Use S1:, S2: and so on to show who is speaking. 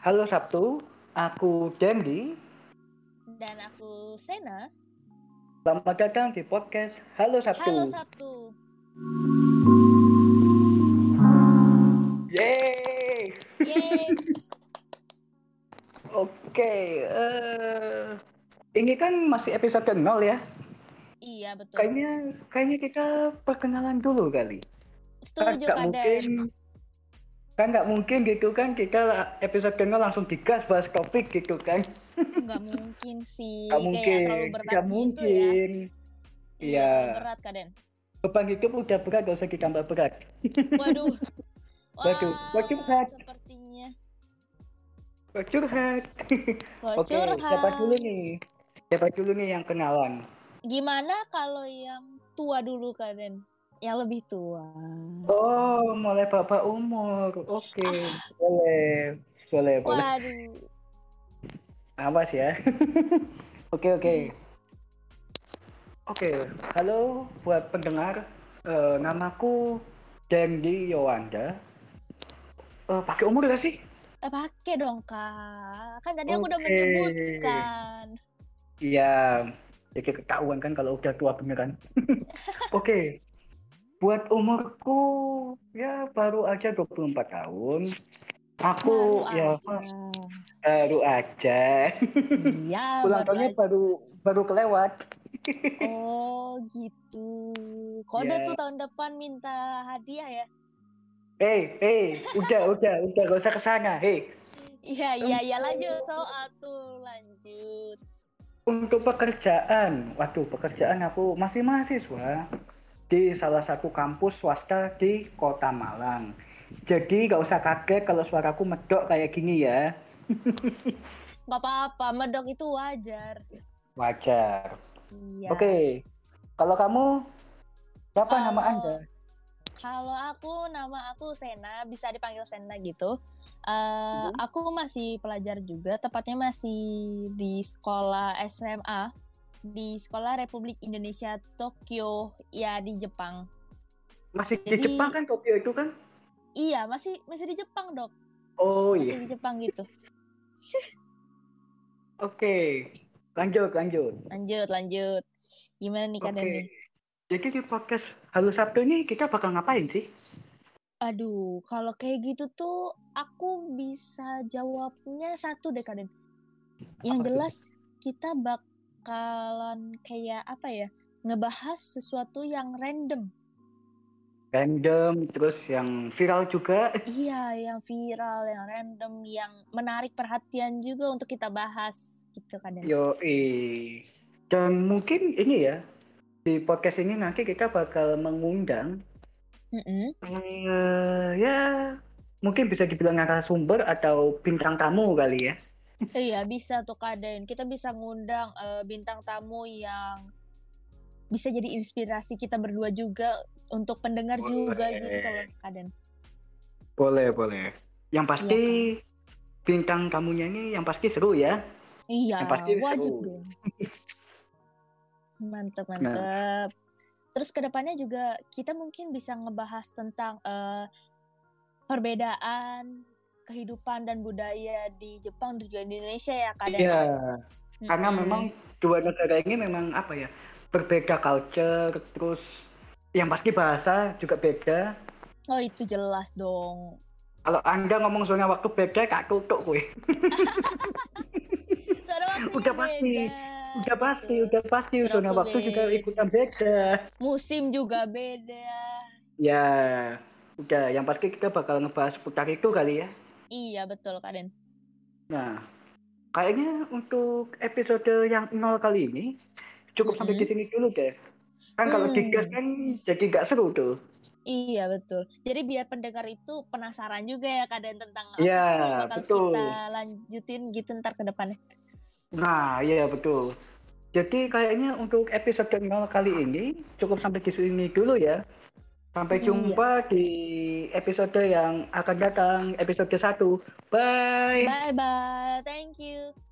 S1: Halo Sabtu, aku Dendi.
S2: Dan aku Sena.
S1: Selamat datang di podcast Halo Sabtu.
S2: Halo Sabtu.
S1: Yeay.
S2: Yeay.
S1: Oke, eh, ini kan masih episode ke nol ya.
S2: iya betul.
S1: Kayaknya kayaknya kita perkenalan dulu kali.
S2: Setuju
S1: nggak
S2: kadang.
S1: kan nggak mungkin gitu kan kita episode ke nol langsung digas bahas topik gitu kan.
S2: Nggak mungkin sih.
S1: Nggak
S2: Iya, Kayak
S1: mungkin.
S2: terlalu berat
S1: nggak
S2: gitu ya.
S1: mungkin.
S2: Iya.
S1: Iya.
S2: terlalu berat Kaden.
S1: Beban hidup udah berat, gak usah ditambah berat.
S2: Waduh.
S1: Waduh, waduh, Kak.
S2: Sepertinya.
S1: Curhat. Oke,
S2: Kocur
S1: siapa dulu nih? Siapa dulu nih yang kenalan?
S2: Gimana kalau yang tua dulu Kaden? Yang lebih tua.
S1: Oh, mulai bapak umur. Oke, boleh. Boleh, boleh.
S2: Waduh.
S1: Awas ya. Oke, oke. Oke, halo buat pendengar. Eh, namaku Dendi Yowanda. Eh, pakai umur gak sih?
S2: Eh, pakai dong kak. Kan tadi aku udah
S1: Oke.
S2: menyebutkan.
S1: Iya, jadi ketahuan kan kalau udah tua beneran. Oke, buat umurku ya baru aja 24 tahun. Aku
S2: Baru
S1: ya
S2: aja.
S1: baru aja.
S2: Iya.
S1: Ulang tahunnya
S2: aja.
S1: baru baru kelewat.
S2: Oh gitu. Kode
S1: Ya.
S2: tuh tahun depan minta hadiah ya?
S1: Hei, hei, udah, udah, udah, gak usah kesana. Hei,
S2: Iya iya iya lanjut soal tuh lanjut.
S1: untuk pekerjaan, waduh, pekerjaan aku masih mahasiswa di salah satu kampus swasta di Kota Malang. Jadi gak usah kaget kalau suaraku medok kayak gini ya.
S2: Gak apa-apa, medok itu wajar.
S1: Wajar.
S2: Iya.
S1: Oke. Kalau kamu siapa
S2: Kalau-
S1: nama Anda?
S2: Kalau aku nama aku Sena, bisa dipanggil Sena gitu. Eh
S1: Mm-hmm.
S2: aku masih pelajar juga, tepatnya masih di sekolah SMA di Sekolah Republik Indonesia Tokyo ya di Jepang.
S1: Masih
S2: Jadi-
S1: di Jepang kan Tokyo itu kan?
S2: Iya, masih masih di Jepang, Dok.
S1: Oh
S2: Masih
S1: iya.
S2: di Jepang gitu.
S1: Oke. Lanjut, lanjut.
S2: Lanjut, lanjut. Gimana nih
S1: Oke.
S2: keadaan nih?
S1: Jadi di podcast Halo Sabtu ini kita bakal ngapain sih?
S2: Aduh, kalau kayak gitu tuh aku bisa jawabnya satu deh Kaden. Yang
S1: Apa tuh?
S2: jelas kita bakalan kayak apa ya? Ngebahas sesuatu yang random.
S1: Random terus yang viral juga.
S2: Iya, yang viral, yang random, yang menarik perhatian juga untuk kita bahas gitu Kaden.
S1: Yo, eh. Dan mungkin ini ya di podcast ini nanti kita bakal mengundang
S2: Mm-mm.
S1: eh, ya mungkin bisa dibilang narasumber atau bintang tamu kali ya.
S2: Iya, bisa tuh Kaden. Kita bisa ngundang eh, bintang tamu yang bisa jadi inspirasi kita berdua juga untuk pendengar juga
S1: Boleh.
S2: gitu loh Kaden.
S1: Boleh, boleh. Yang pasti bintang tamunya ini yang pasti seru ya.
S2: Iya,
S1: Yang pasti
S2: wajib
S1: seru. Nah.
S2: dong. Mantep, mantep. Terus kedepannya juga kita mungkin bisa ngebahas tentang eh, perbedaan kehidupan dan budaya di Jepang dan juga di Indonesia ya kadang.
S1: Iya. karena memang dua negara ini memang apa ya? Berbeda culture terus yang pasti bahasa juga beda.
S2: Oh itu jelas dong.
S1: Kalau Anda ngomong soalnya waktu beda kak tutup gue.
S2: Soalnya waktu
S1: Udah
S2: yang
S1: pasti,
S2: beda,
S1: Udah pasti,
S2: gitu.
S1: udah pasti zona
S2: Waktu
S1: waktu juga
S2: beda.
S1: ikutan beda.
S2: Musim juga beda.
S1: Ya, udah yang pasti kita bakal ngebahas putar itu kali ya.
S2: Iya betul Kaden.
S1: Nah, kayaknya untuk episode yang nol kali ini cukup sampai
S2: Mm-mm.
S1: di sini dulu deh. Kan kalau
S2: Hmm.
S1: digas kan jadi nggak seru tuh.
S2: Iya betul. Jadi biar pendengar itu penasaran juga ya keadaan tentang apa
S1: Iya,
S2: sih yang bakal
S1: betul.
S2: kita lanjutin gitu ntar ke depannya.
S1: Nah, iya betul. Jadi kayaknya untuk episode nol kali ini cukup sampai di sini dulu ya. Sampai
S2: Iya.
S1: jumpa di episode yang akan datang, episode 1. Bye.
S2: Bye bye. Thank you.